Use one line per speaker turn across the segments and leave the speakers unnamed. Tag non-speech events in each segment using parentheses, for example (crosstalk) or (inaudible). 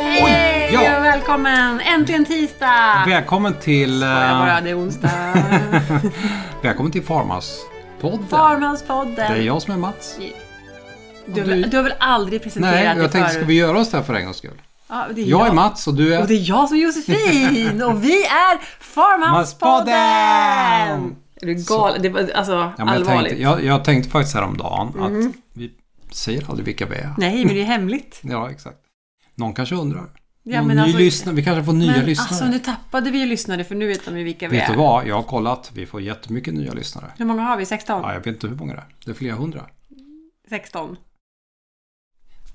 Hej
ja.
och välkommen! Äntligen tisdag!
Välkommen till...
Skojar bara,
Eh,
det är onsdag.
(laughs) välkommen till Farmas-podden. Det är
Farmanspodden.
jag som är Mats.
Du, har väl- du har väl aldrig presenterat
Nej,
dig
jag tänkte, ska
förut?
vi göra oss det här för en gångs skull?
Ja, det är
Jag är
jag.
Mats och du
Och det
är...
är jag som är Josefin
(laughs)
och vi är Farmanspodden!
Farmanspodden!
Är du galen? Det var alltså
Ja, men jag,
allvarligt. Mm.
tänkte, jag, jag tänkte faktiskt häromdagen att vi säger aldrig vilka vi är.
Nej, men det är hemligt.
Ja, exakt. Någon kanske undrar.
Ja,
Någon
men
ny
alltså-
lyssnare. Vi kanske får (laughs) nya
men
lyssnare.
alltså nu tappade vi ju lyssnare för nu vet de ju vilka vi
Vet du
är.
vad? Jag har kollat. Vi får jättemycket nya lyssnare.
Hur många har vi? 16?
Ja, jag vet inte hur många det är. Det är flera hundra.
16?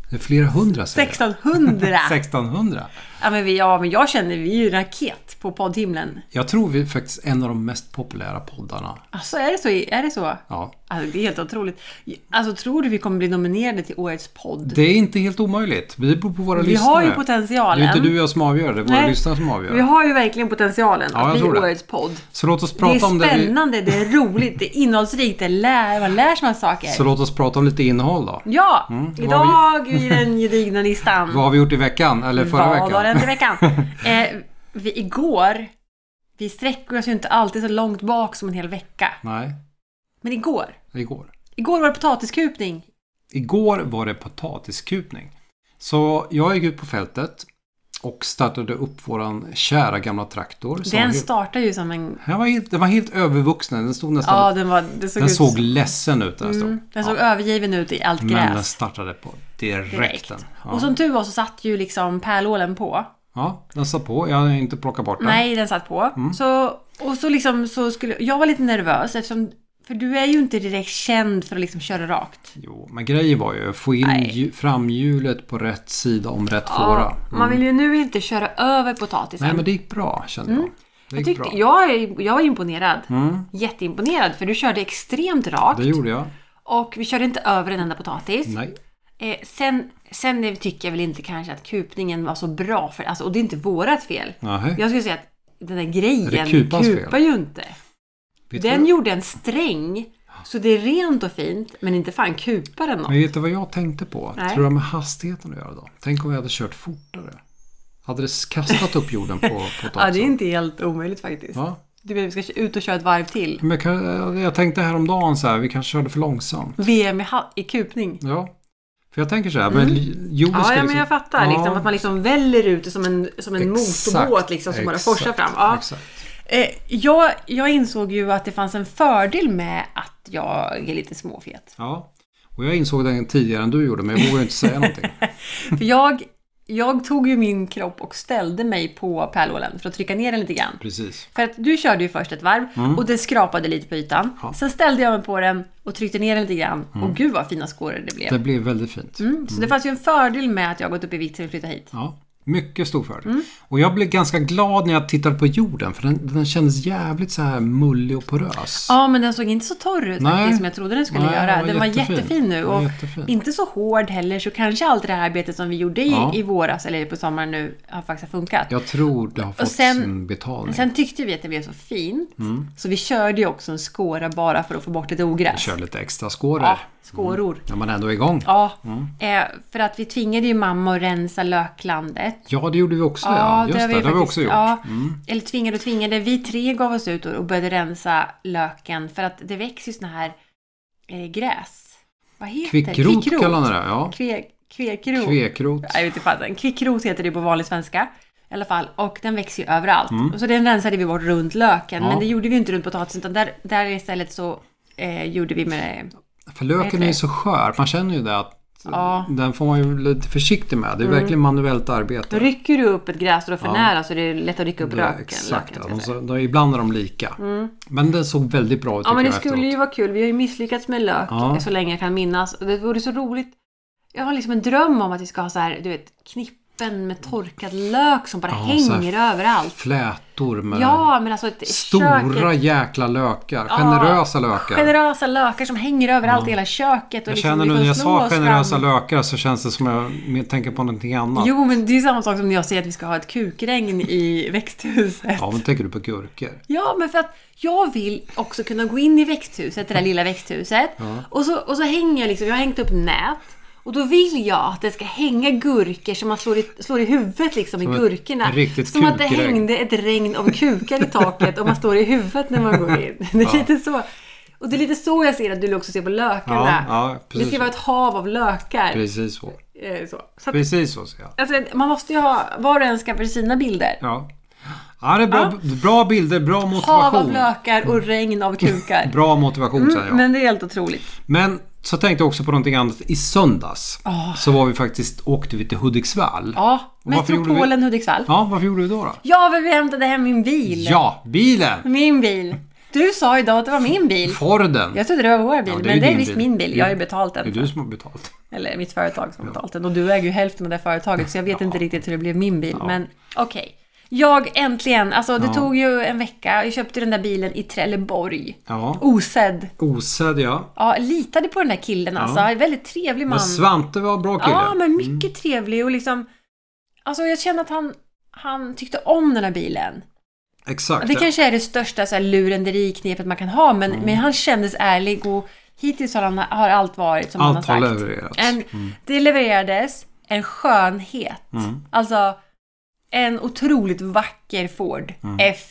Det är flera hundra säger jag. (laughs)
1600!
1600.
ja, men vi, ja, men jag känner vi är ju raket på poddhimlen.
Jag tror vi är faktiskt en av de mest populära poddarna.
Alltså är det så? Är det så?
Ja.
Alltså, det är helt otroligt. Alltså tror du vi kommer bli nominerade till årets podd?
Det är inte helt omöjligt. Det beror på våra
vi
lyssnare.
har ju
Det är
potentialen.
ju inte du och jag som avgör, det är våra
Nej.
lyssnare som avgör.
Vi har ju verkligen potentialen
Ja, jag
att bli
tror det.
årets podd.
Så låt oss
Det är
prata om det. Vi...
spännande, det, är roligt, det är innehållsrikt, det lär, man lär sig massa saker.
Så låt oss prata om lite innehåll då.
Ja,
vad har
idag i den gedigna listan.
Vad har vi gjort i veckan? Eller förra
Vad
veckan?
var det inte i veckan? eh, vi, igår, vi sträcker oss ju inte alltid så långt bak som en hel vecka.
(laughs) Nej,
Men igår,
igår.
igår var det potatiskupning.
Igår var det potatiskupning. Så jag gick ut på fältet och startade upp våran kära gamla traktor. som var
Den
helt-
startar ju som en...
den, var helt, den var helt övervuxen. Den stod nästan...
Ja, den var... Det såg
den
ut...
såg ledsen ut. Den stod.
Mm, den såg övergiven ut i allt
Men den
gräs.
startade på direkt.
Direkt.
den. Ja.
Och som tur var så satt ju liksom pärlålen på.
ja, den satt på. Jag har inte plockat bort den.
Nej, den satt på.
Mm.
Så, och så liksom så skulle... Jag var lite nervös eftersom... För du är ju inte direkt känd för att liksom köra rakt.
Jo, men grejen var ju att få in
Nej.
ju, framhjulet på rätt sida om rätt
Ja,
fåra.
Man vill ju nu inte köra över potatisen.
Nej, men det gick bra kände jag. Det
Mm. Jag,
gick
tyckte,
bra. Mm.
jag, är- jag var imponerad. Jätteimponerad, för du körde extremt rakt.
Det gjorde jag.
Och vi körde inte över en enda potatis.
Nej.
Eh, sen, sen tycker jag väl inte kanske att kupningen var så bra. För, alltså, och det är inte vårat fel.
Nähä.
Jag skulle säga att den där
Är det
grejen
kupans fel?
kupar ju inte.
Vet du
Den
vad-
gjorde en sträng. Så det är rent och fint, men inte fan kupar den något.
Men vet du vad jag tänkte på?
Nej.
Tror du det har med hastigheten att göra då? Tänk om vi hade kört fortare. Hade det kastat upp jorden på potatisen?
(laughs) Ja, det är inte helt omöjligt faktiskt.
Ja.
Du menar vi ska ut och köra ett varv till?
Men jag, kan- jag tänkte häromdagen så här, vi kanske körde för långsamt.
VM i, ha- i kupning.
Ja. För jag tänker så här, men jorden ska
Mm. Ja, ja
liksom-
men jag fattar.
Ja,
Liksom, att man liksom väller ut det som en, som en
exakt,
motorbåt liksom, som bara forsar
exakt,
fram. Ja.
Exakt.
Eh, jag, jag insåg ju att det fanns en fördel med att jag är lite småfet.
Ja. Och jag insåg den tidigare än du gjorde, men jag vågade inte
(laughs)
säga någonting.
För jag, jag tog ju min kropp och ställde mig på pärlålen för att trycka ner den lite grann.
Precis.
För att du körde ju först ett varv och det skrapade lite på ytan.
Mm. Ja. Mm.
Sen ställde jag mig på den och tryckte ner den lite grann. Och gud vad fina skåror det blev.
Det blev väldigt fint.
Mm. Så det fanns ju en fördel med att jag gått upp i vikt sen vi flyttade hit.
Ja, mycket stor fördel.
Mm.
Och jag blev ganska glad när jag tittade på jorden, för den, den kändes jävligt så här mullig och porös.
Ja, men den såg inte så torr ut
Nej.
faktiskt som jag trodde den skulle
Nej,
göra. Den var, jättefin, nu
Den var
och
jättefin.
inte så hård heller så kanske allt det här arbetet som vi gjorde i,
Ja.
i våras eller på sommaren nu har faktiskt funkat.
Jag tror det har fått
sen-
sin betalning.
Sen tyckte vi att det blev så fint
Mm.
så vi körde ju också en skåra bara för att få bort lite ogräs.
Kör lite extra skåror
ja, skåror.
när man ändå är igång.
Ja,
Mm.
eh, för att vi tvingade ju mamma att rensa löklandet.
Ja, det gjorde vi också. Ja, Just det, det, har vi
faktiskt-
också gjort. Mm.
Ja, Eller tvingade och tvingade. Vi tre gav oss ut och och började rensa löken för att det växer ju såna här eh, gräs. Vad heter det?
Kvickrot kallar man det. Ja.
Kve, kvekrot.
Kvekrot.
Nej, Jag vet inte fasen. Kvickrot heter det på vanlig svenska. I alla fall. Och den växer ju överallt. Och så den rensade vi bort runt löken.
Mm. Ja.
Men det gjorde vi inte runt potatisen utan där, där istället så eh, gjorde vi med...
För löken är ju så skör. Man känner ju det att
Ja. Mm.
den får man ju lite försiktig med. Det är verkligen manuellt arbete.
Då rycker du upp ett gräs och då för nära så det är lätt att rycka upp
Det är
röken.
Exakt,
löken,
ja.
ska
de,
jag säga.
så- de, ibland är de lika. Men den såg väldigt bra ut
Ja men det
jag
skulle
efteråt.
ju vara kul. Vi har ju misslyckats med lök eh,
Ja.
så länge jag kan minnas. Och Det vore så roligt. Jag har liksom en dröm om att vi ska ha så här, du vet, knippa öppen med torkad lök som bara
Ja, så här
hänger överallt.
Flätor med
Ja, men alltså ett kök,
stora jäkla lökar. Generösa lökar.
Generösa lökar som hänger överallt i hela köket. Och
jag
liksom,
känner
vi
nu
får
när jag
slå
sa
oss fram.
generösa lökar så känns det som jag tänker på någonting annat.
Jo, men det är samma sak som när jag säger att vi ska ha ett kukregn i (laughs) växthuset.
Ja, men tänker du på gurkor?
Ja, men för att jag vill också kunna gå in i växthuset, det där lilla växthuset. Och, så, och så hänger jag liksom, jag har hängt upp nät. Och då vill jag att det ska hänga gurkor som man slår i, slår i huvudet liksom i
ett
gurkorna.
riktigt
som att det
kukregn.
hängde ett regn av kukar i taket och man står i huvudet när man går
(laughs)
in. Det är lite så. Och det är lite så jag ser att du också ser på lökarna.
Ja, ja,
det
precis.
ska vara ett hav av lökar.
Precis så.
Eh, Så. Så att,
Precis så ser jag.
alltså, man måste ju ha, var och en skaffar sina bilder.
Ja. Ja, det är bra, bra bilder, bra
Hav av
motivation.
lökar och regn av kukar.
Bra motivation säger jag. Mm, Men...
Mm, Men det är helt otroligt.
så tänkte jag också på någonting annat. I söndags
Ah.
så var vi faktiskt, åkte vi till Hudiksvall.
Ja,
Varför gjorde vi-
metropolen Hudiksvall. Ja.
Ja, varför gjorde vi då? då?
men vi hämtade hem min bil.
Ja, bilen!
Min bil. Du sa idag att det var min bil.
Forden!
Jag trodde det var vår bil,
det är
men
ju
det är
din
visst
bil.
min bil. Jag har ju betalt
Det är
den.
du som har betalt.
Eller mitt företag som har betalt den. Och du äger ju hälften av det företaget, så jag vet inte riktigt hur det blev min bil. Men okej. Jag äntligen, alltså det tog ju en vecka. Jag köpte den där bilen i Trelleborg.
Ja.
Osedd.
Osedd ja.
Ja, litade på den där killen alltså. Väldigt trevlig man.
Men Svante var en bra kille. Mm.
Ja, men mycket trevlig och liksom... Alltså jag känner att han, han tyckte om den här bilen.
Exakt.
Det kanske är det största så här, lurenderi-knepet man kan ha,
Mm.
men, men han kändes ärlig och hittills har, han, har allt varit som han har
Allt har
sagt.
levererats. Mm.
En, Det levererades en skönhet. Alltså, en otroligt vacker Ford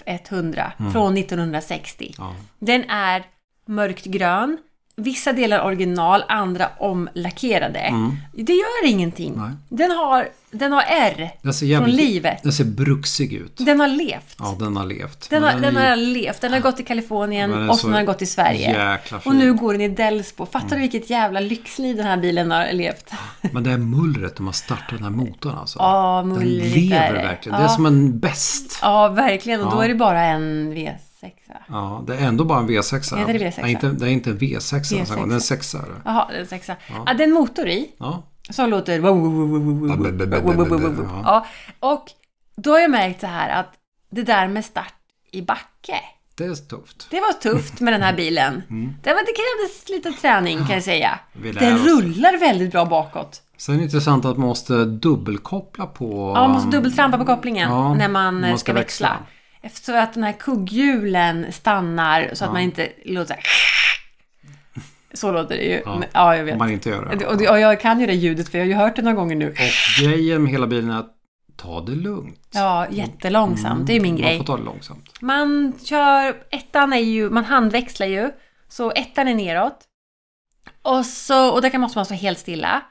F100 från 1960.
Mm. Ja.
Den är mörkt grön. Vissa delar original, andra omlackerade. Det gör ingenting.
Mm. Nej.
Den har, den har R
Den ser
från
jävligt...
livet.
Den ser bruxig ut.
Den har levt.
Ja, den har levt.
Den
Men
har, den
är
har levt. Den har gått till Kalifornien
Men den är
och
så
sen har den gått till Sverige.
Jäkla fin. Mm.
Och nu går den i Delsbo. Fattar du vilket jävla lyxliv den här bilen har levt?
Men det här mullret när man startar den här motorn alltså.
Ja,
den
mullrigt
lever
är det.
verkligen.
Ja.
Det är som en bäst.
Ja, verkligen. Och då är det bara en V6.
Ja, det är ändå bara en V6.
Heter det V6?
Nej, inte, det är inte en V6. ens en gång. Det är en
V6.
sexare.
Jaha, en sexa. Ja. det är en motor i.
Ja.
Som låter... Ja, och då har jag märkt så här att det där med start i backe.
Det är tufft.
Det var tufft med den här bilen. Det, var, det krävdes lite träning kan jag säga.
Mm. Vi lär
Den
oss.
rullar väldigt bra bakåt.
Sen är det intressant att man måste dubbelkoppla på... um,
Ja, man måste dubbeltrampa på kopplingen
ja,
när man,
när man
eh,
ska
ska
växla.
växla. Eftersom att de här kugghjulen stannar så att man inte låter så här. Så låter det ju. Ja, ja jag vet.
Om man inte gör det.
Och, det- och jag kan ju det ljudet för jag har ju hört det några gånger nu.
Och grejen med hela bilen är att ta det lugnt. Mm.
Ja, jättelångsamt. Det är ju min
Man
grej.
får ta det långsamt.
Man kör, ettan är ju, man handväxlar ju. Så ettan är neråt. Och, så, och där kan- måste man stå helt stilla.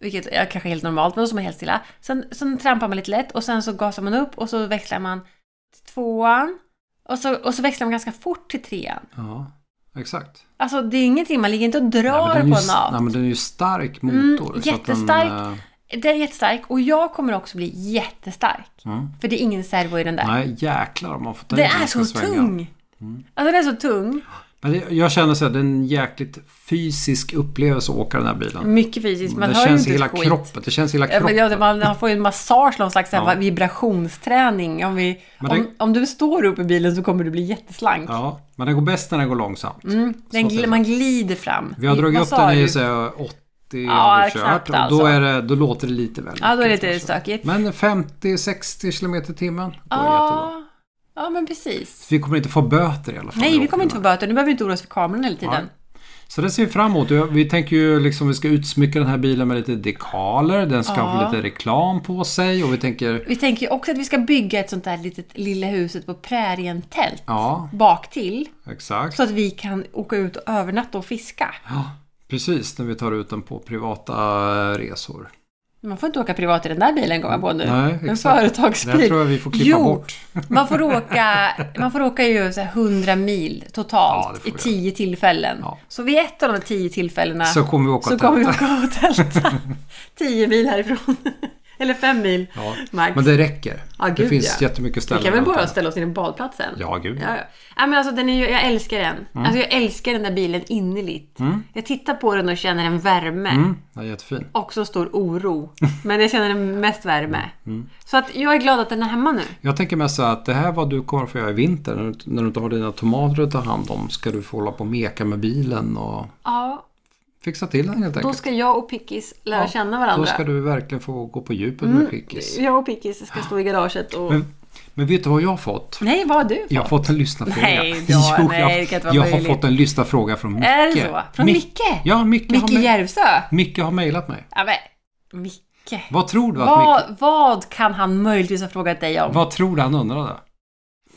Vilket är kanske är helt normalt, men då står man helt stilla. Sen, sen trampar man lite lätt och sen så gasar man upp och så växlar man till tvåan. Och så, och så växlar man ganska fort till trean.
Ja, exakt.
Alltså det är ingenting, man ligger inte och
Nej,
drar
men den
på
är ju,
en av.
nej, men den är ju stark motor.
Mm,
så att den,
jättestark.
eh,
Den är jättestark och jag kommer också bli jättestark. För det är ingen servo i den där.
Mm. nej, jäklar om man får ta i
den
när
är
man ska
så
svänga. Mm.
tung! Alltså den är så tung.
Men det, jag känner så här, det är en jäkligt fysisk upplevelse att åka den här bilen.
Mycket fysiskt, Mm, man
det
hör ju
känns
inte
i hela
ett skit.
kroppen. Det känns i hela
Ja, men
kroppen.
ja, man han får ju en massage, någon slags så här
Ja.
vibrationsträning. Om, vi,
Men det-
om, om du står upp i bilen så kommer du bli jätteslank.
Ja, men den går bäst när den går långsamt.
Den,
säger
gl-
jag.
man glider fram.
Vi har dragit
Vad
upp
sa
den i
du?
så här, 80
Ja,
har vi
knappt
kört. Och
alltså.
då, är det, då låter det lite väl
Ja, då är det
mycket,
lite
kanske.
stökigt. Ah.
Men 50-60 km i timmen går jättebra.
Ja, ja, men precis.
Vi kommer inte få böter i alla fall.
Nej,
när
vi kommer
åker
inte få böter. Nu behöver vi inte oroa oss för kameran hela tiden.
Så det ser vi fram emot. Vi tänker ju liksom vi ska utsmycka den här bilen med lite dekaler. Den ska ha
Ja.
lite reklam på sig och vi tänker
Vi tänker ju också att vi ska bygga ett sånt där litet lilla huset på prärien-tält
Ja,
bak till
exakt.
Så att vi kan åka ut och övernatta och fiska.
Ja, precis när vi tar ut den på privata eh, resor.
Man får inte åka privat i den där bilen, kommer jag på nu.
Nej,
en
exakt.
företagsbil.
Den tror jag vi får klippa
jo,
bort.
Man får åka, man får åka ju så här 100 mil
Ja, det
totalt
får
i
vi
tio tillfällen.
Ja.
Så vid ett av de tio tillfällena
Så kommer vi åka
så
och tälta.
(laughs) kommer vi åka och tälta. 10 mil härifrån. Eller fem mil
Ja.
max.
Men det räcker.
Ja,
det
gud,
finns
ja.
jättemycket
Vi
ställen.
kan väl
att
bara
ta.
ställa oss inne på badplatsen?
Ja, Mm. gud.
Ja, ja. ja men alltså den är ju, jag älskar den. Alltså jag älskar den där bilen innerligt. Jag tittar på den och känner en värme.
Mm, den är jättefin.
Också en stor oro. Men jag känner en mest värme.
Mm,
Så att jag är glad att den är hemma nu.
Jag tänker mest så här att det här är vad du kommer att få göra i vinter. När du, när du inte har dina tomater att ta hand om ska du få hålla på och meka med bilen och
Ja,
fixa till den helt
då
enkelt.
ska jag och Pickis lära
Ja,
känna
Då
varandra.
ska du verkligen få gå på djupet
Mm.
med Pickis.
Jag och Pickis ska stå i garaget och...
Men, men vet du vad jag har fått?
Nej, vad har du fått?
Jag har fått en lyssnarfråga.
Nej, då,
(laughs) Jo,
nej,
jag,
det kan inte vara
jag har
möjligt.
fått en lyssnarfråga från Micke.
Är det så? Från
Mi-
Micke?
Ja, Micke,
Micke
har, mej-
Järvsö?
Micke har mejlat mig.
Ja, men Micke.
Vad tror du att Micke...
Vad, vad kan han möjligtvis ha frågat dig om?
Vad tror du han undrade?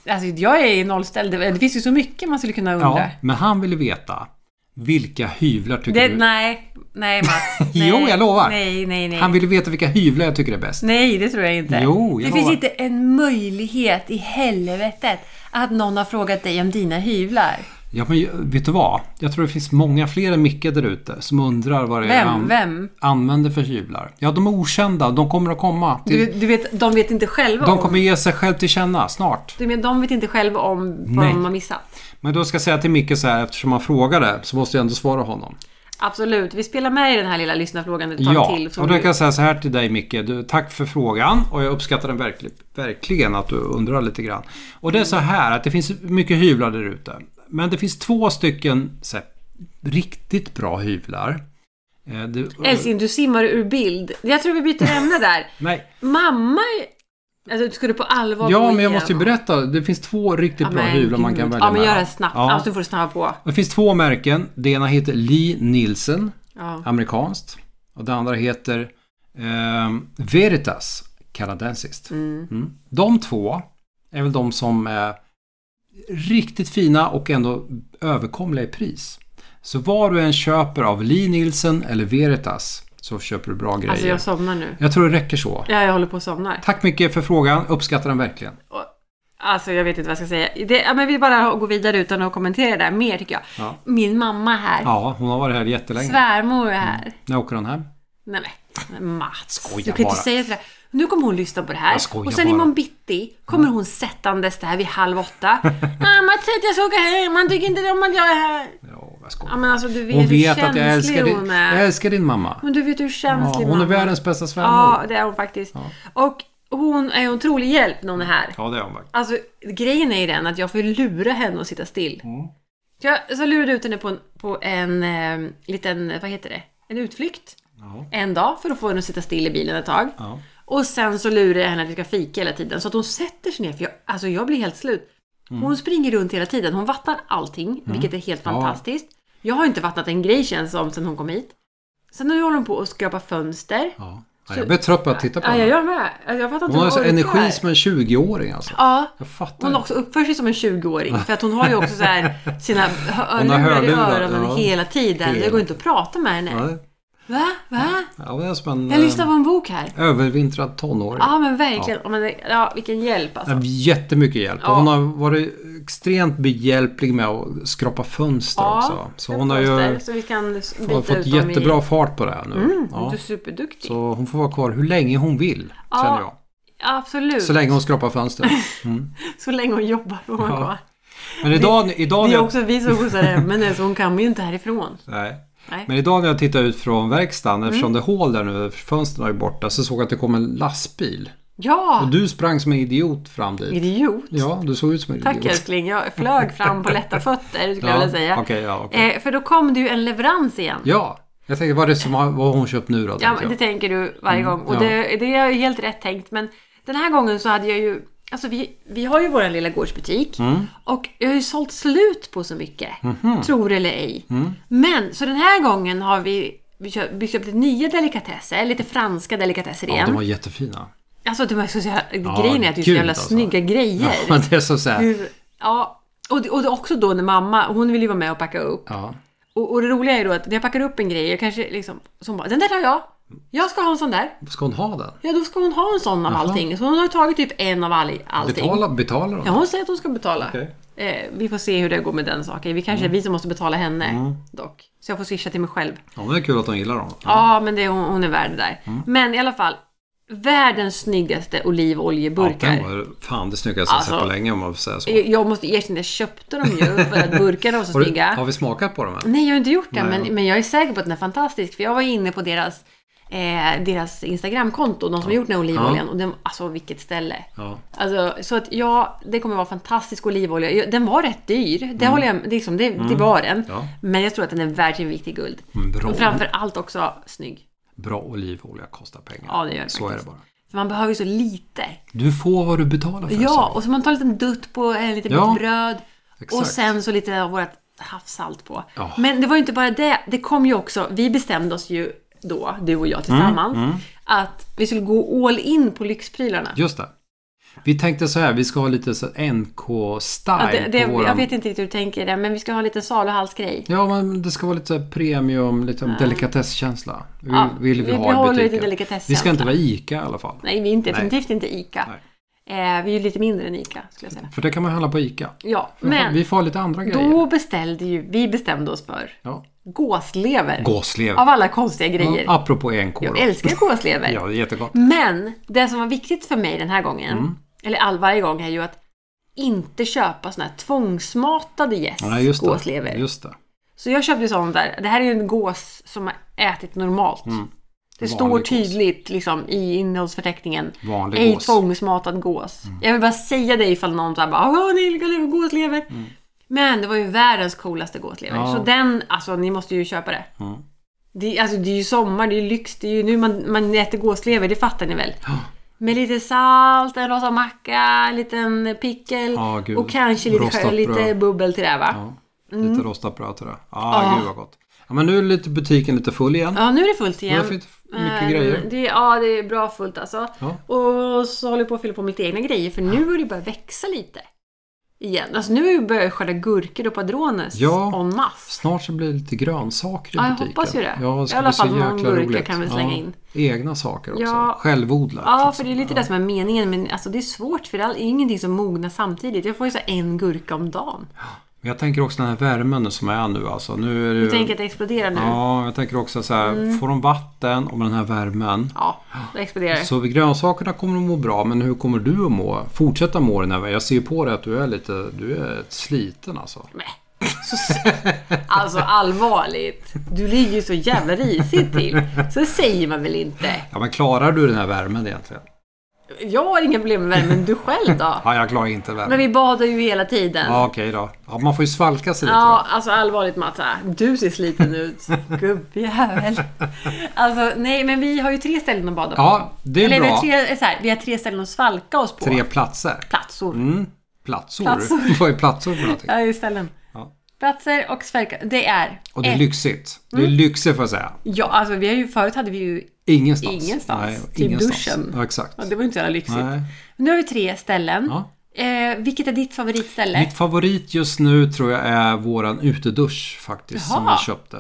Alltså, jag är nollställd. Det finns ju så mycket man skulle kunna undra.
Ja, men han ville veta. Vilka hyvlar tycker
det,
du...
nej, nej Mats. Nej,
Mm. (laughs) Jo, jag lovar.
Nej, nej, nej.
Han ville veta vilka hyvlar jag tycker är bäst.
Nej, det tror jag inte.
Jo, jag
det finns
lovar.
inte en möjlighet i helvetet att någon har frågat dig om dina hyvlar.
Ja, men vet du vad? Jag tror det finns många fler än Micke där ute som undrar vad det är
Vem?
han
Vem?
använder för hyvlar. Ja, de är okända. De kommer att komma.
Du,
Till,
du vet, de vet inte själva
de
om...
kommer ge sig själv till känna snart.
Du menar, de vet inte själva om vad
Nej.
de har missat?
Men då ska jag säga till Micke så här, eftersom han frågade, så måste jag ändå svara honom.
Absolut. Vi spelar med i den här lilla lyssnarfrågan ett tag
Ja,
till. så
och då
du-
kan jag säga så här till dig Micke. Du, tack för frågan och jag uppskattar den verklig, verkligen att du undrar lite grann. Och det är så här att det finns mycket hyvlar där ute. Men det finns två stycken så här, riktigt bra hyvlar. Eh, det-
Älskling, du simmar ur bild. Jag tror vi byter ämne där.
Nej,
Mamma... Alltså, ska du på allvar gå
ja men jag
igenom?
måste ju berätta. Det finns två riktigt bra hyvlar man kan
gud.
välja
Ja, men gör
mellan.
det snabbt.
Ja.
Alltså, du får snabba på.
Det finns två märken. Det ena heter Lee Nielsen,
Ja.
amerikanskt. Och det andra heter ehm, Veritas, kanadensiskt.
Mm.
Mm. De två är väl de som är riktigt fina och ändå överkomliga i pris. Så vad du än köper av Lee Nielsen eller Veritas så köper du bra grejer.
Alltså,
jag...
jag somnar nu.
tror det räcker så.
Ja, jag håller på att somna.
Tack mycket för frågan, uppskattar den verkligen.
Och- Alltså, jag vet inte vad jag ska säga. Det, ja, men vi bara går vidare utan att kommentera det där mer, tycker jag.
Ja.
Min mamma är här.
Ja, hon har varit här jättelänge.
Svärmor är här.
När åker hon hem?
Nej, men Mats.
Skojar
du kan
bara.
inte säga sådär. Nu kommer hon lyssna på det här.
Jag skojar
Och sen
bara.
imorgon bitti kommer hon sättandes där vid halv
(laughs)
åtta. Mamma, säg att jag ska åka hem. Han tycker inte om att jag är här.
Ja, vad
Ja,
skojar.
men alltså, du vet
Hon
hur
vet
känslig
att jag älskar din,
hon är.
jag älskar din mamma.
Men du vet hur
Ja,
känslig
hon är
mamma
världens bästa svärmor.
Ja, det är hon faktiskt. Och hon är en otrolig hjälp när hon är här.
Ja, det är hon verkligen.
Alltså, grejen är ju den att jag får ju lura henne att sitta still.
Mm.
Så jag så lurade ut henne på en, på en eh, liten, vad heter det, en utflykt.
Ja.
En dag för att få henne att sitta still i bilen ett tag.
Ja.
Och sen så lurar jag henne att vi ska fika hela tiden. Så att hon sätter sig ner, för jag, alltså jag blir helt slut. Hon springer runt hela tiden. Hon vattnar allting, vilket är helt
Mm. Ja.
fantastiskt. Jag har inte vattnat en grej känns som sen hon kom hit. Sen nu håller hon på och skrapar fönster.
Ja. Jag blir trött på att titta på
Ja, jag
henne.
gör med. Alltså, Jag fattar inte
Hon har
hur
så
orkar.
energi som en 20-åring alltså.
Ja.
Jag fattar
Hon
inte.
också uppför sig som en 20-åring. För att hon har ju också så här sina
(laughs)
hörlurar i
hörlurar,
öronen
ja.
hela tiden. Det
Hela
går inte att prata med henne.
Ja, det-
Va? Va?
ja, det är som en
Jag lyssnar
eh,
på en bok här.
övervintrad tonåring.
Ja men verkligen. Ja. Men, ja, vilken hjälp
Det är
alltså.
Jättemycket hjälp. Och
Ja.
Hon har varit extremt behjälplig med att skrapa fönster också. Så hon har ju
Så vi kan byta
hon har fått
ut dem
jättebra
i... Mm,
fart på det här nu. ja.
Du är superduktig.
Så hon får vara kvar hur länge hon vill,
Ja.
känner jag.
Absolut.
Så länge hon skrapar fönster.
Så länge hon jobbar får man
Ja.
vara.
Men idag, idag
Det
när
är
jag,
också vi som skjutsar henne, men så hon kan ju inte härifrån.
nej.
Nej. Mm.
Men idag när jag tittar ut från verkstaden, eftersom det är hål där nu, fönstren är ju borta, så såg jag att det kom en lastbil.
Ja!
Och du sprang som en idiot fram dit.
Idiot.
Ja, du såg ut som en
Tack
idiot.
älskling, jag flög fram på lätta fötter skulle
Ja,
jag vilja säga.
Okej, ja, okej.
Eh, för då kom det ju en leverans igen.
Ja, jag tänkte vad är det som har, vad har hon köpt nu då?
Ja,
tänkte
men det
jag. Mm,
tänker du varje gång. Och
ja.
det, det är ju helt rätt tänkt. Men den här gången så hade jag ju... Alltså vi, vi har ju vår lilla gårdsbutik.
Mm.
Och jag har ju sålt slut på så mycket.
Mhm.
Tror eller ej.
Mm.
Men, så den här gången har vi vi kö- vi köpte nya delikatesser, lite franska delikatesser
ja,
igen.
de var jättefina.
Alltså de är så jävla,
Ja,
grejen är att det är så
gud,
jävla
alltså.
snygga grejer.
Ja, (laughs) det är så så här.
Hur- Ja, och, det- och det är också då när mamma, hon vill ju vara med och packa upp.
Ja.
Och, och det roliga är ju då att när jag packar upp en grej, jag kanske liksom, så hon bara, den där tar jag. Jag ska ha en sån där.
Ska hon ha den?
Ja, då ska hon ha en sån av
Jaha.
allting. Så hon har ju tagit typ en av all, allting.
Betala, betalar hon?
Ja, hon säger att hon ska betala.
Okej. Mm.
Eh, vi får se hur det går med den saken. Vi kanske är vi som måste betala henne dock. Så jag får swisha till mig själv.
Ja, Mm. men det är kul att hon gillar dem.
Ja, men det, hon, hon är värd det där. Men i alla fall. världens snyggaste
Ja,
olivoljeburkar.
den var fan det snyggaste jag sett
Alltså,
på länge om man får säga så.
Jag- Jag måste erkänna, jag köpte dem ju för att burkarna var så
(laughs) Har, du,
snygga. Mm.
har vi smakat på dem än?
Nej, jag har inte gjort det,
Nej, ja.
men, men jag är säker på att den är fantastisk. För jag var inne på deras, eh, deras Instagramkonto, de som har gjort den här olivoljan. Och den, alltså vilket ställe!
Ja.
Alltså, så att ja, det kommer vara fantastisk olivolja. Jag- Den var rätt dyr, det håller jag liksom, det, det var den.
Mm. Ja.
Men jag tror att den är värd sin vikt i guld.
Mm, bra.
Och framför allt också snygg.
Bra olivolja kostar pengar.
Ja, det gör det
Så är det
faktiskt.
bara.
För man behöver ju så lite.
Du får vad du betalar för.
Ja,
så.
och så man tar en liten dutt på en liten
Ja,
bit bröd. Och
exakt.
sen så lite av vårt havssalt på.
Ja.
Men det var ju inte bara det. Det kom ju också, vi bestämde oss ju då, du och jag
Mm,
tillsammans, att vi skulle gå all in på lyxprylarna.
Just det. Vi tänkte så här, vi ska ha lite så
Ja,
NK-style
det, det,
på våran...
Jag vet inte riktigt hur du tänker det, men vi ska ha lite saluhalsgrej.
Ja, men det ska vara lite så här premium, lite delikatesskänsla. Vill,
Ja,
vill vi,
vi
ha
behåller lite
i butiken. Vi ska
delikatesskänsla.
inte vara ICA i alla fall.
Nej, vi är inte, definitivt inte ICA.
Nej.
Eh, vi är ju lite mindre än ICA, skulle jag säga.
För det kan man handla på ICA.
Ja,
Vi får-
men
vi får ha lite andra grejer.
då beställde ju, vi bestämde oss för
Ja.
gåslever.
Gåslever.
Av alla konstiga grejer.
Ja, apropå NK
Jag
då.
älskar gåslever.
Ja, det är jättegott.
Men det som var viktigt för mig den här gången,
Mm.
eller all varje gång, är ju att inte köpa såna här tvångsmatade gäss
Ja, just det.
gåslever.
Just det.
Så jag köpte ju sån där. Det här är ju en gås som har ätit normalt. Det står
Mm. Vanlig gås.
tydligt liksom, i innehållsförteckningen.
Vanlig
Ej
gås. Mm.
tvångsmatad gås. Jag vill bara säga det ifall någon så här bara Åh, nej, vilka lever- gåslever. Men det var ju världens coolaste gåslever.
Mm. Ja.
Så den, alltså ni måste ju köpa det.
Mm.
Det, alltså, det är ju sommar, det är ju lyx. Det är ju nu man, man äter gåslever, det fattar ni väl?
Ja.
Med lite salt, en rosa macka, en liten pickel
Ja, gud.
och kanske lite,
Rostat
lite
bröd.
bubbel till det va? Ja.
Ja.
Mm.
Lite rostat bröd till det. ah, gud vad gott. Ja, men nu är lite butiken lite full igen.
nu är det fullt
Nu
igen.
har vi fått mycket
Eh,
grejer.
Det, ja, det är bra fullt alltså.
Ja.
Och så håller jag på att fylla på med lite egna grejer för nu har det börjat växa lite. Igen. Alltså nu har jag börjat skörda gurkor och padrones
Ja.
en masse.
Snart så blir det lite grönsaker i
Ja, jag
butiken.
hoppas ju det.
Ja, det
I
ska
alla
bli så
fall någon
jäkla
gurka
roligt.
kan vi slänga in.
Egna saker också.
Ja.
Självodlat.
Ja,
liksom.
för det är lite det som är meningen. Men alltså, det är svårt för det är ingenting som mognar samtidigt. Jag får ju så här en gurka om dagen.
Men jag tänker också den här värmen som är nu alltså. Nu är det
Du
ju...
tänker att det exploderar nu? Mm. Ja,
Ja, jag tänker också så här. Får de vatten och den här värmen.
det exploderar.
Så grönsakerna kommer att må bra, men hur kommer du att må? Fortsätta må den här värmen. Jag ser ju på dig att du är lite... Du är sliten alltså.
Nej. Så, alltså allvarligt. Du ligger ju så jävla risigt till. Så säger man väl inte.
Ja, men klarar du den här värmen egentligen?
Jag har inga problem med det, men du själv då?
Ja, jag klarar inte
Men
värmen.
vi badar ju hela tiden.
Ja, okej då. Ja, man får ju svalka sig lite.
Ja,
va?
alltså allvarligt Matta. Du ser sliten
(laughs)
ut. Gubbjävel. Alltså nej, men vi har ju tre ställen att bada på.
Ja, det är
Eller vi har,
bra.
tre, eh, så här, vi har tre ställen att svalka oss på.
Tre platser.
platsor.
Mm. Platsor?
Platsor.
(laughs) Vad är platsor för någonting?
Ja, det är ställen.
Ja.
Platser och svalka. Det är...
Och det är
ett- Mm.
lyxigt. Det är lyxigt får jag säga.
Ja, alltså vi har ju, förut hade vi ju...
Ingenstans.
Ingenstans. Typ duschen.
Ja, exakt.
Ja, det typ var ju inte så jävla lyxigt.
Nej.
Nu har vi tre ställen.
Ja.
Eh, vilket är ditt favoritställe?
Mitt favorit just nu tror jag är våran utedusch faktiskt som
Jaha.
vi köpte.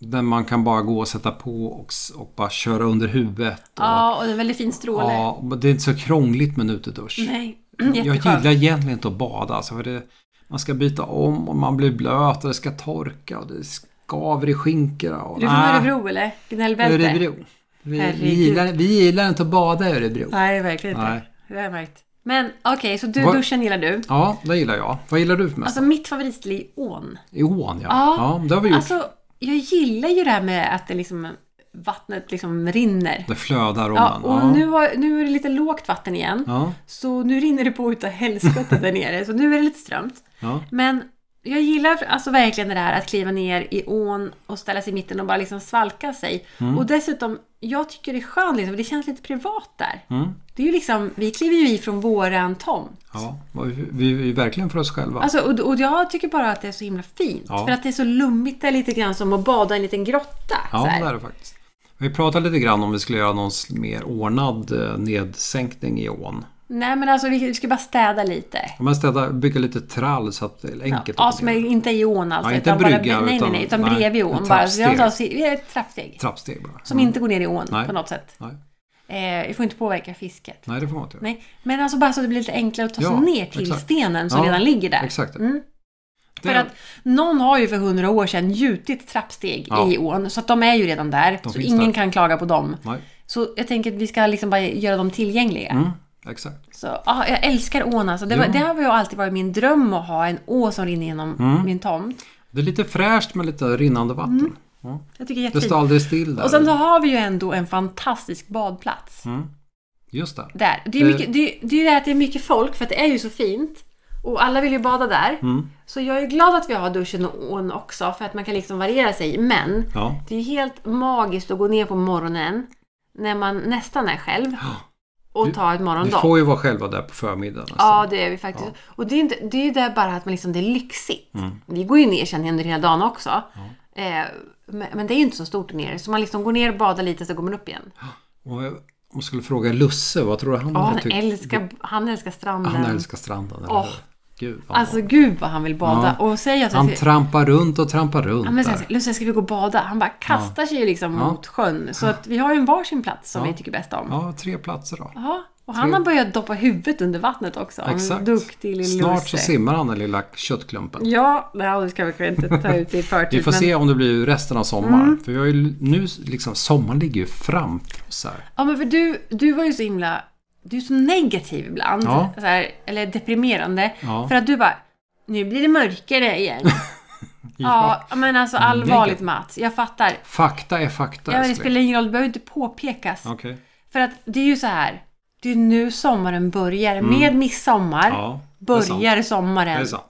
Där man kan bara gå och sätta på och, s- och bara köra under huvudet. Och,
Ja, och det är en väldigt fin stråle.
ja, men det är inte så krångligt med en utedusch.
Nej,
Jag
jätteskönt.
gillar egentligen inte att bada. Alltså, för det, man ska byta om och man blir blöt och det ska torka och det skaver i skinkorna. Och,
Är du från
Nej,
Örebro eller? Gnällbälte?
Örebro. Vi, vi,
Herregud.
gillar, vi gillar inte att bada i Örebro.
Nej, verkligen inte.
Nej.
Det har jag märkt. Men okej, så du,
Vad-
duschen gillar du.
Ja, det gillar jag. Vad gillar du mest?
Alltså mitt favoritställe är ån.
I ån ja.
Alltså, Ja.
ja. det har vi gjort.
Alltså, jag gillar ju det här med att det liksom, vattnet liksom rinner.
det flödar om
Ja,
ja,
och nu, har, nu är det lite lågt vatten igen.
ja.
Så nu rinner det på utav helskotta där nere. Så nu är det lite strömt.
Ja.
Men jag gillar alltså verkligen det där att kliva ner i ån och ställa sig i mitten och bara liksom svalka sig.
Mm.
Och dessutom, jag tycker det är skönt liksom, för det känns lite privat där.
Mm.
Det är ju liksom, vi kliver ju i från våran tomt.
Ja, och vi- vi är ju verkligen för oss själva.
Alltså, och, och jag tycker bara att det är så himla fint.
Ja.
För att det är så lummigt, det är lite grann som att bada i en liten grotta.
ja,
så
det
här.
är det faktiskt. Vi pratade lite grann om vi skulle göra någon sl- mer ordnad eh, nedsänkning i ån.
Nej men alltså vi, vi ska bara städa lite.
Ja, Men städa, bygga lite trall så att det är
Ja,
enkelt.
ja,
att
som är
ner.
inte i ån alltså.
Ja, inte
utan
en
bara-
brygga,
nej, nej, nej,
utan-
utan bredvid
nej,
ån.
ett
Bara. Så jag tar,
trappsteg.
vi är ett trappsteg.
Trappsteg bara.
Som inte går ner i ån
Nej.
på något sätt.
Nej.
Eh, vi får inte påverka fisket.
Nej, det får man inte göra.
Nej, men alltså bara så att det blir lite enklare att ta sig
Ja,
ner till
exakt.
stenen som
Ja,
redan ligger där.
Exakt.
Mm.
Det,
För att någon har ju för hundra år sedan gjutit trappsteg
Ja.
i ån, så att de är ju redan där.
De
så
finns
ingen
där.
kan klaga på dem.
Nej.
Så jag tänker att vi ska liksom bara göra dem tillgängliga.
Mm, exakt.
Så, ja, jag älskar ån alltså. Det, var,
Ja.
det har ju alltid varit min dröm att ha en å som rinner genom
Mm.
min tomt.
Det är lite fräscht med lite rinnande vatten. Ja.
Jag tycker det är
Det
jättefint.
står aldrig still där.
Mm, Och sen så har vi ju ändå en fantastisk badplats.
Mm. Just det.
Där. Det är
Det-
ju mycket, det är, det är ju det här att det är mycket folk för att det är ju så fint. Och alla vill ju bada där.
Mm.
Så jag är glad att vi har duschen och ån också för att man kan liksom variera sig. Men
Ja.
det är ju helt magiskt att gå ner på morgonen när man nästan är själv och ta ett
Vi
morgondopp.
får ju vara själva där på förmiddagen. alltså.
Ja, det är vi faktiskt. Och det är, inte, det är ju där bara att man liksom, det är lyxigt.
Mm.
Vi går ju ner känner jag under hela dagen också. Eh, men, men det är ju inte så stort där nere. Så man liksom går ner och badar lite, så går man upp igen.
Och jag- om jag skulle fråga Lusse, vad tror du han
Ja,
hade
han,
tyckt?
älskar, han älskar stranden.
typ- Han älskar stranden, eller
Åh.
hur? Gud, vad
Alltså gud vad han vill bada. Och säger att
Han
han
trampar runt och trampar runt
men
där.
säger, Lucia ska vi gå och bada? Han bara kastar sig ju liksom mot sjön. Så att vi har ju en varsin plats som vi tycker bäst om. Ja.
Ja, tre platser då.
Och han har börjat doppa huvudet under vattnet också. En
Exakt.
Duktig lille
Snart så
Lusse.
simmar han den lilla köttklumpen.
Ja, nej, det ska vi kanske inte ta ut i förtid.
(laughs) Vi får
men- Mm.
se om det blir resten av sommaren. För vi har ju nu liksom, sommaren ligger ju framför oss här.
Ja, men för du, du var ju så himla... Du är så negativ ibland.
Ja.
Så här, eller deprimerande.
Ja.
För att du bara, nu blir det mörkare
(laughs)
igen. ja. men alltså allvarligt Mats. Jag fattar.
Fakta är fakta,
Ja, men det
älskling.
spelar ingen roll, det behöver inte påpekas.
Okej.
För att det är ju så här. Det är nu sommaren börjar. Med midsommar
Mm. Ja, det är sant.
börjar
Det
sommaren.
är sant.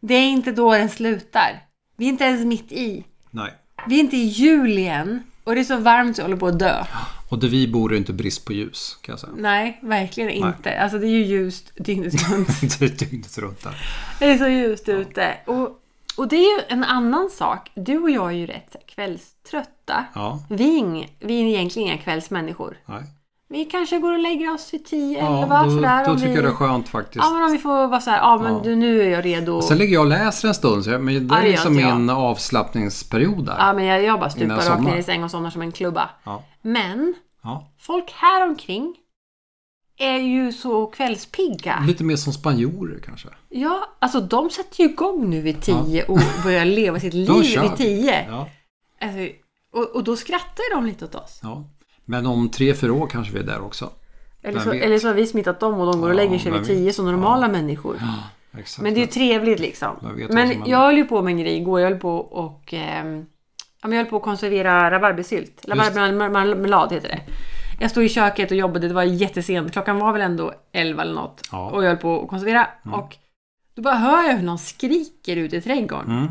det är inte då den slutar. Vi är inte ens mitt i.
Nej.
Vi är inte i juli än. Och det är så varmt så jag håller på att dö.
Och där vi bor är inte brist på ljus, kan jag säga.
Nej, verkligen inte. Alltså det är ju ljust dygnet runt.
(laughs) det är dygnet runt där.
Det är så ljust ute. Och, och det är ju en annan sak. Du och jag är ju rätt kvällströtta.
Ja,
Vi, är ing, vi är egentligen inga kvällsmänniskor.
nej.
Vi kanske går och lägger oss vid 10, 11
Ja, då,
sådär.
då
om
tycker
vi,
jag det är skönt faktiskt.
Ja, men om vi får vara såhär, ja men du, nu är jag redo.
Sen ligger jag och läser en stund, så jag, men det
Ja,
är
det gör
liksom
inte jag.
min avslappningsperiod där.
ja, men jag, jag bara
Innan
stupar
jag
rakt
somnar.
ner i säng och somnar som en klubba.
Ja.
Men
Ja.
folk här omkring är ju så kvällspigga.
Lite mer som spanjorer kanske.
Ja, alltså de sätter ju igång nu vid 10 och börjar leva sitt liv
kör
vid
vi.
10.
Ja,
Alltså, och, och då skrattar ju de lite åt oss.
ja. Men om tre, fyra år kanske vi är där också.
Eller
Vem
så,
vet?
eller så har vi smittat dem och de går och
Ja,
lägger sig
vem
vid tio
vet?
som normala människor.
Exakt.
Men det är ju trevligt liksom.
Vem vet vad som
Men
händer?
jag höll ju på med en grej igår. Jag höll på och... ehm, ja, men jag höll på att konservera rabarbersylt. Rabarbermarmelad heter det. Jag stod i köket och jobbade. Det var jättesent. Klockan var väl ändå 11 eller något.
Ja. Mm.
Och jag höll på att konservera. Och då bara hör jag hur någon skriker ute i trädgården.
Mm.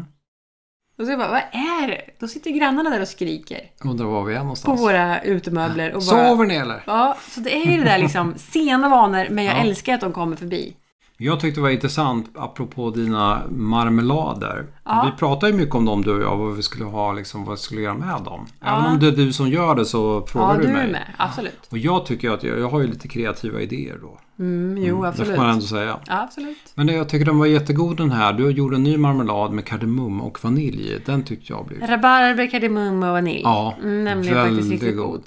Och så jag bara, vad är det? Då sitter grannarna där och skriker.
Undrar var vi är
På
någonstans.
våra utemöbler. Och bara,
Sover ni eller?
Ja, så det är ju det där
(laughs)
liksom sena vanor, men jag
Ja.
älskar att de kommer förbi.
Jag tyckte det var intressant apropå dina marmelader.
Ja.
Vi pratade ju mycket om dem du och jag, vad vi skulle ha, liksom, vad vi skulle göra med dem.
Ja.
Även om det är du som gör det så frågar
ja,
du,
du
mig.
är med. Absolut.
Och jag tycker att jag, jag har ju lite kreativa idéer då.
Mm, jo,
Det
absolut.
får man ändå säga.
Ja, absolut.
Men jag tycker den var jättegod den här. Du gjorde en ny marmelad med kardemumma och vanilj i. Den tyckte jag blev...
Rabarber, kardemumma och vanilj.
Ja,
Mm, nämligen faktiskt
väldigt
riktigt god.
god.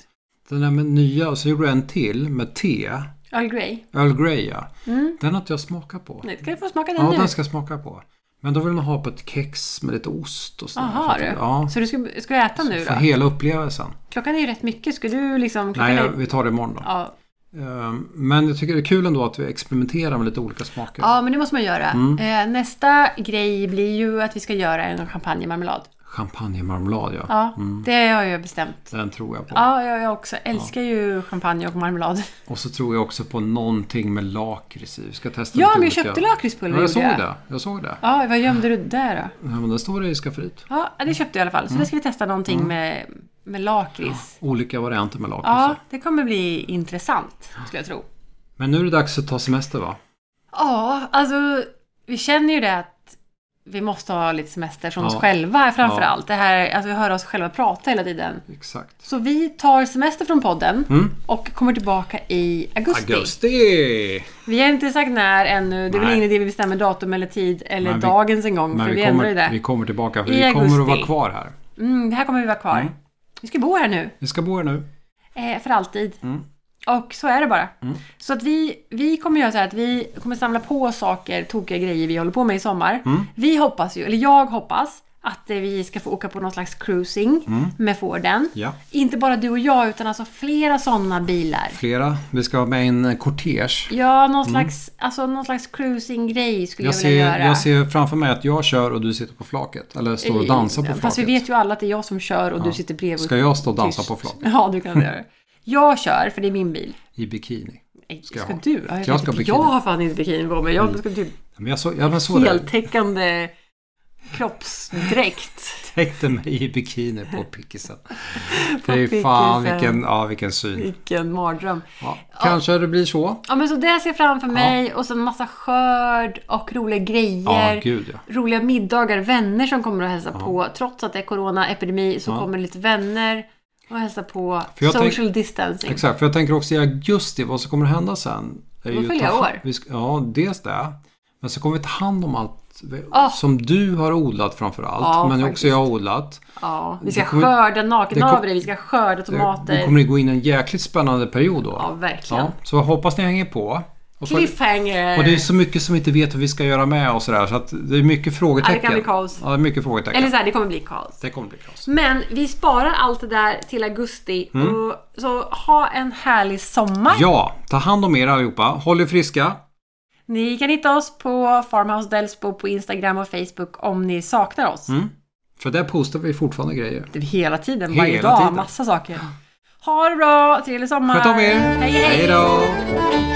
Den där med nya och så gjorde du en till med te.
Earl Grey.
Earl Grey ja. Den har inte jag smakat på.
Mm. Nej, Ska du få smaka den
ja,
nu?
den ska jag smaka på. Men då vill man ha på ett kex med lite ost och sådär.
Jaha,
Så
du.
att- Ja,
Så du ska, ska du äta nu
för
då?
hela upplevelsen.
Klockan är ju rätt mycket. Ska du liksom... Klockan
Nej, jag-
är...
vi tar det imorgon då.
ja.
Ehm, Men jag tycker det är kul ändå att vi experimenterar med lite olika smaker.
ja, men det måste man göra.
Mm.
Eh, nästa grej blir ju att vi ska göra en champagnemarmelad.
Champagnemarmelad ja.
Ja, det har jag bestämt.
Den tror jag på.
Ja, jag, jag också. Älskar ju champagne och marmelad.
Och så tror jag också på någonting med lakrits i. Vi ska testa
Ja,
lite
men jag
olika.
köpte lakritspulver.
Ja, jag såg
gjorde jag.
det. Jag såg det.
Ja, vad gömde du där då?
Ja, men den står det i skafferiet.
Ja, det köpte jag i alla fall. Så
Mm.
där ska vi testa någonting med, med lakrits.
Olika varianter med lakrits.
Ja,
Ja.
det kommer bli intressant, skulle jag tro.
Men nu är det dags att ta semester va?
Ja, alltså vi känner ju det att vi måste ha lite semester från
Ja.
oss själva framför
Ja.
allt. Det här, alltså vi hör oss själva prata hela tiden.
Exakt.
Så vi tar semester från podden
Mm.
och kommer tillbaka i augusti.
Augusti!
Vi har inte sagt när ännu. Det är väl
Nej.
ingen idé vi bestämmer datum eller tid eller
Men vi-
dagen ens en gång, för
Men
vi,
vi
ändrar ju
kommer, vi
det.
kommer tillbaka för
I
vi kommer att
augusti.
vara kvar här.
Mm, det här kommer vi vara kvar.
Mm.
Vi ska bo här nu.
Vi ska bo här nu.
Eh, för alltid.
Mm.
Och så är det bara. Så att vi, vi kommer göra så här att
Mm.
vi kommer samla på saker, tokiga grejer vi håller på med i sommar. Vi hoppas ju, eller jag hoppas, att eh, vi ska få åka på någon slags cruising
Mm.
med Forden.
Ja.
Inte bara du och jag, utan alltså flera sådana bilar.
Flera. Vi ska ha med en kortege.
Ja, någon slags, alltså, någon slags cruising-grej skulle jag,
Mm. Jag
vilja
ser,
göra.
jag ser framför mig att jag kör och du sitter på flaket. Eller står och dansar på
Eh, Fast
flaket.
vi vet ju alla att det är jag som kör och du sitter bredvid.
Ska jag stå och dansa
tyst.
på flaket?
(laughs) Ja, du kan göra det. Jag kör, för det är min bil.
I bikini.
Nej,
Ska
Ska,
jag ha?
du? Ja,
Jag
jag,
ska
jag,
ha
vet,
bikini. Mm.
jag har fan inte bikini på mig. Jag ska typ
Men jag såg, jag såg det. (laughs)
heltäckande
(laughs)
kroppsdräkt.
Täckte mig i bikini på pickisen.
(laughs) På
Fy fan
pickisen.
vilken, ja, vilken syn.
Vilken mardröm.
Ja. Kanske det blir så.
Ja, men så det ser jag framför mig och sen massa skörd och roliga
Ja,
grejer.
gud ja.
roliga middagar, vänner som kommer och hälsa på. Trots att det är coronaepidemi så kommer lite vänner och hälsa på.
För jag
Social distancing.
Exakt, för jag tänker också i augusti, vad som kommer hända sen? är
Då
ju
fyller
ta-
jag år.
Vi ska, ja, dels det. Men så kommer vi ta hand om allt vi-
Ah.
som du har odlat framför allt.
Ja,
men
faktiskt.
också jag har odlat.
Ja, vi ska
Det kommer-
skörda
det
nakenhavre, vi ska skörda
Vi
tomater.
kommer ju gå in i en jäkligt spännande period då.
Ja, verkligen.
Ja, så jag hoppas ni hänger på. Och, så,
Cliffhanger!
och det är så mycket som vi inte vet hur vi ska göra med och sådär. Så att det är mycket frågetecken.
Ja, det kan bli kaos.
Ja, det är mycket frågetecken.
Eller så här, det kommer bli kaos.
Det kommer bli kaos.
Men vi sparar allt det där till augusti. Och, så ha en härlig sommar.
Mm. Ja, ta hand om er allihopa. Håll er friska.
Ni kan hitta oss på Farmhouse Delsbo på Instagram och Facebook om ni saknar oss.
Mm. För där postar vi fortfarande grejer.
Det är Hela tiden,
Hela
varje dag,
tiden.
massa saker. Ha det bra, trevlig sommar!
Sköt om er.
Hej, hej!
då.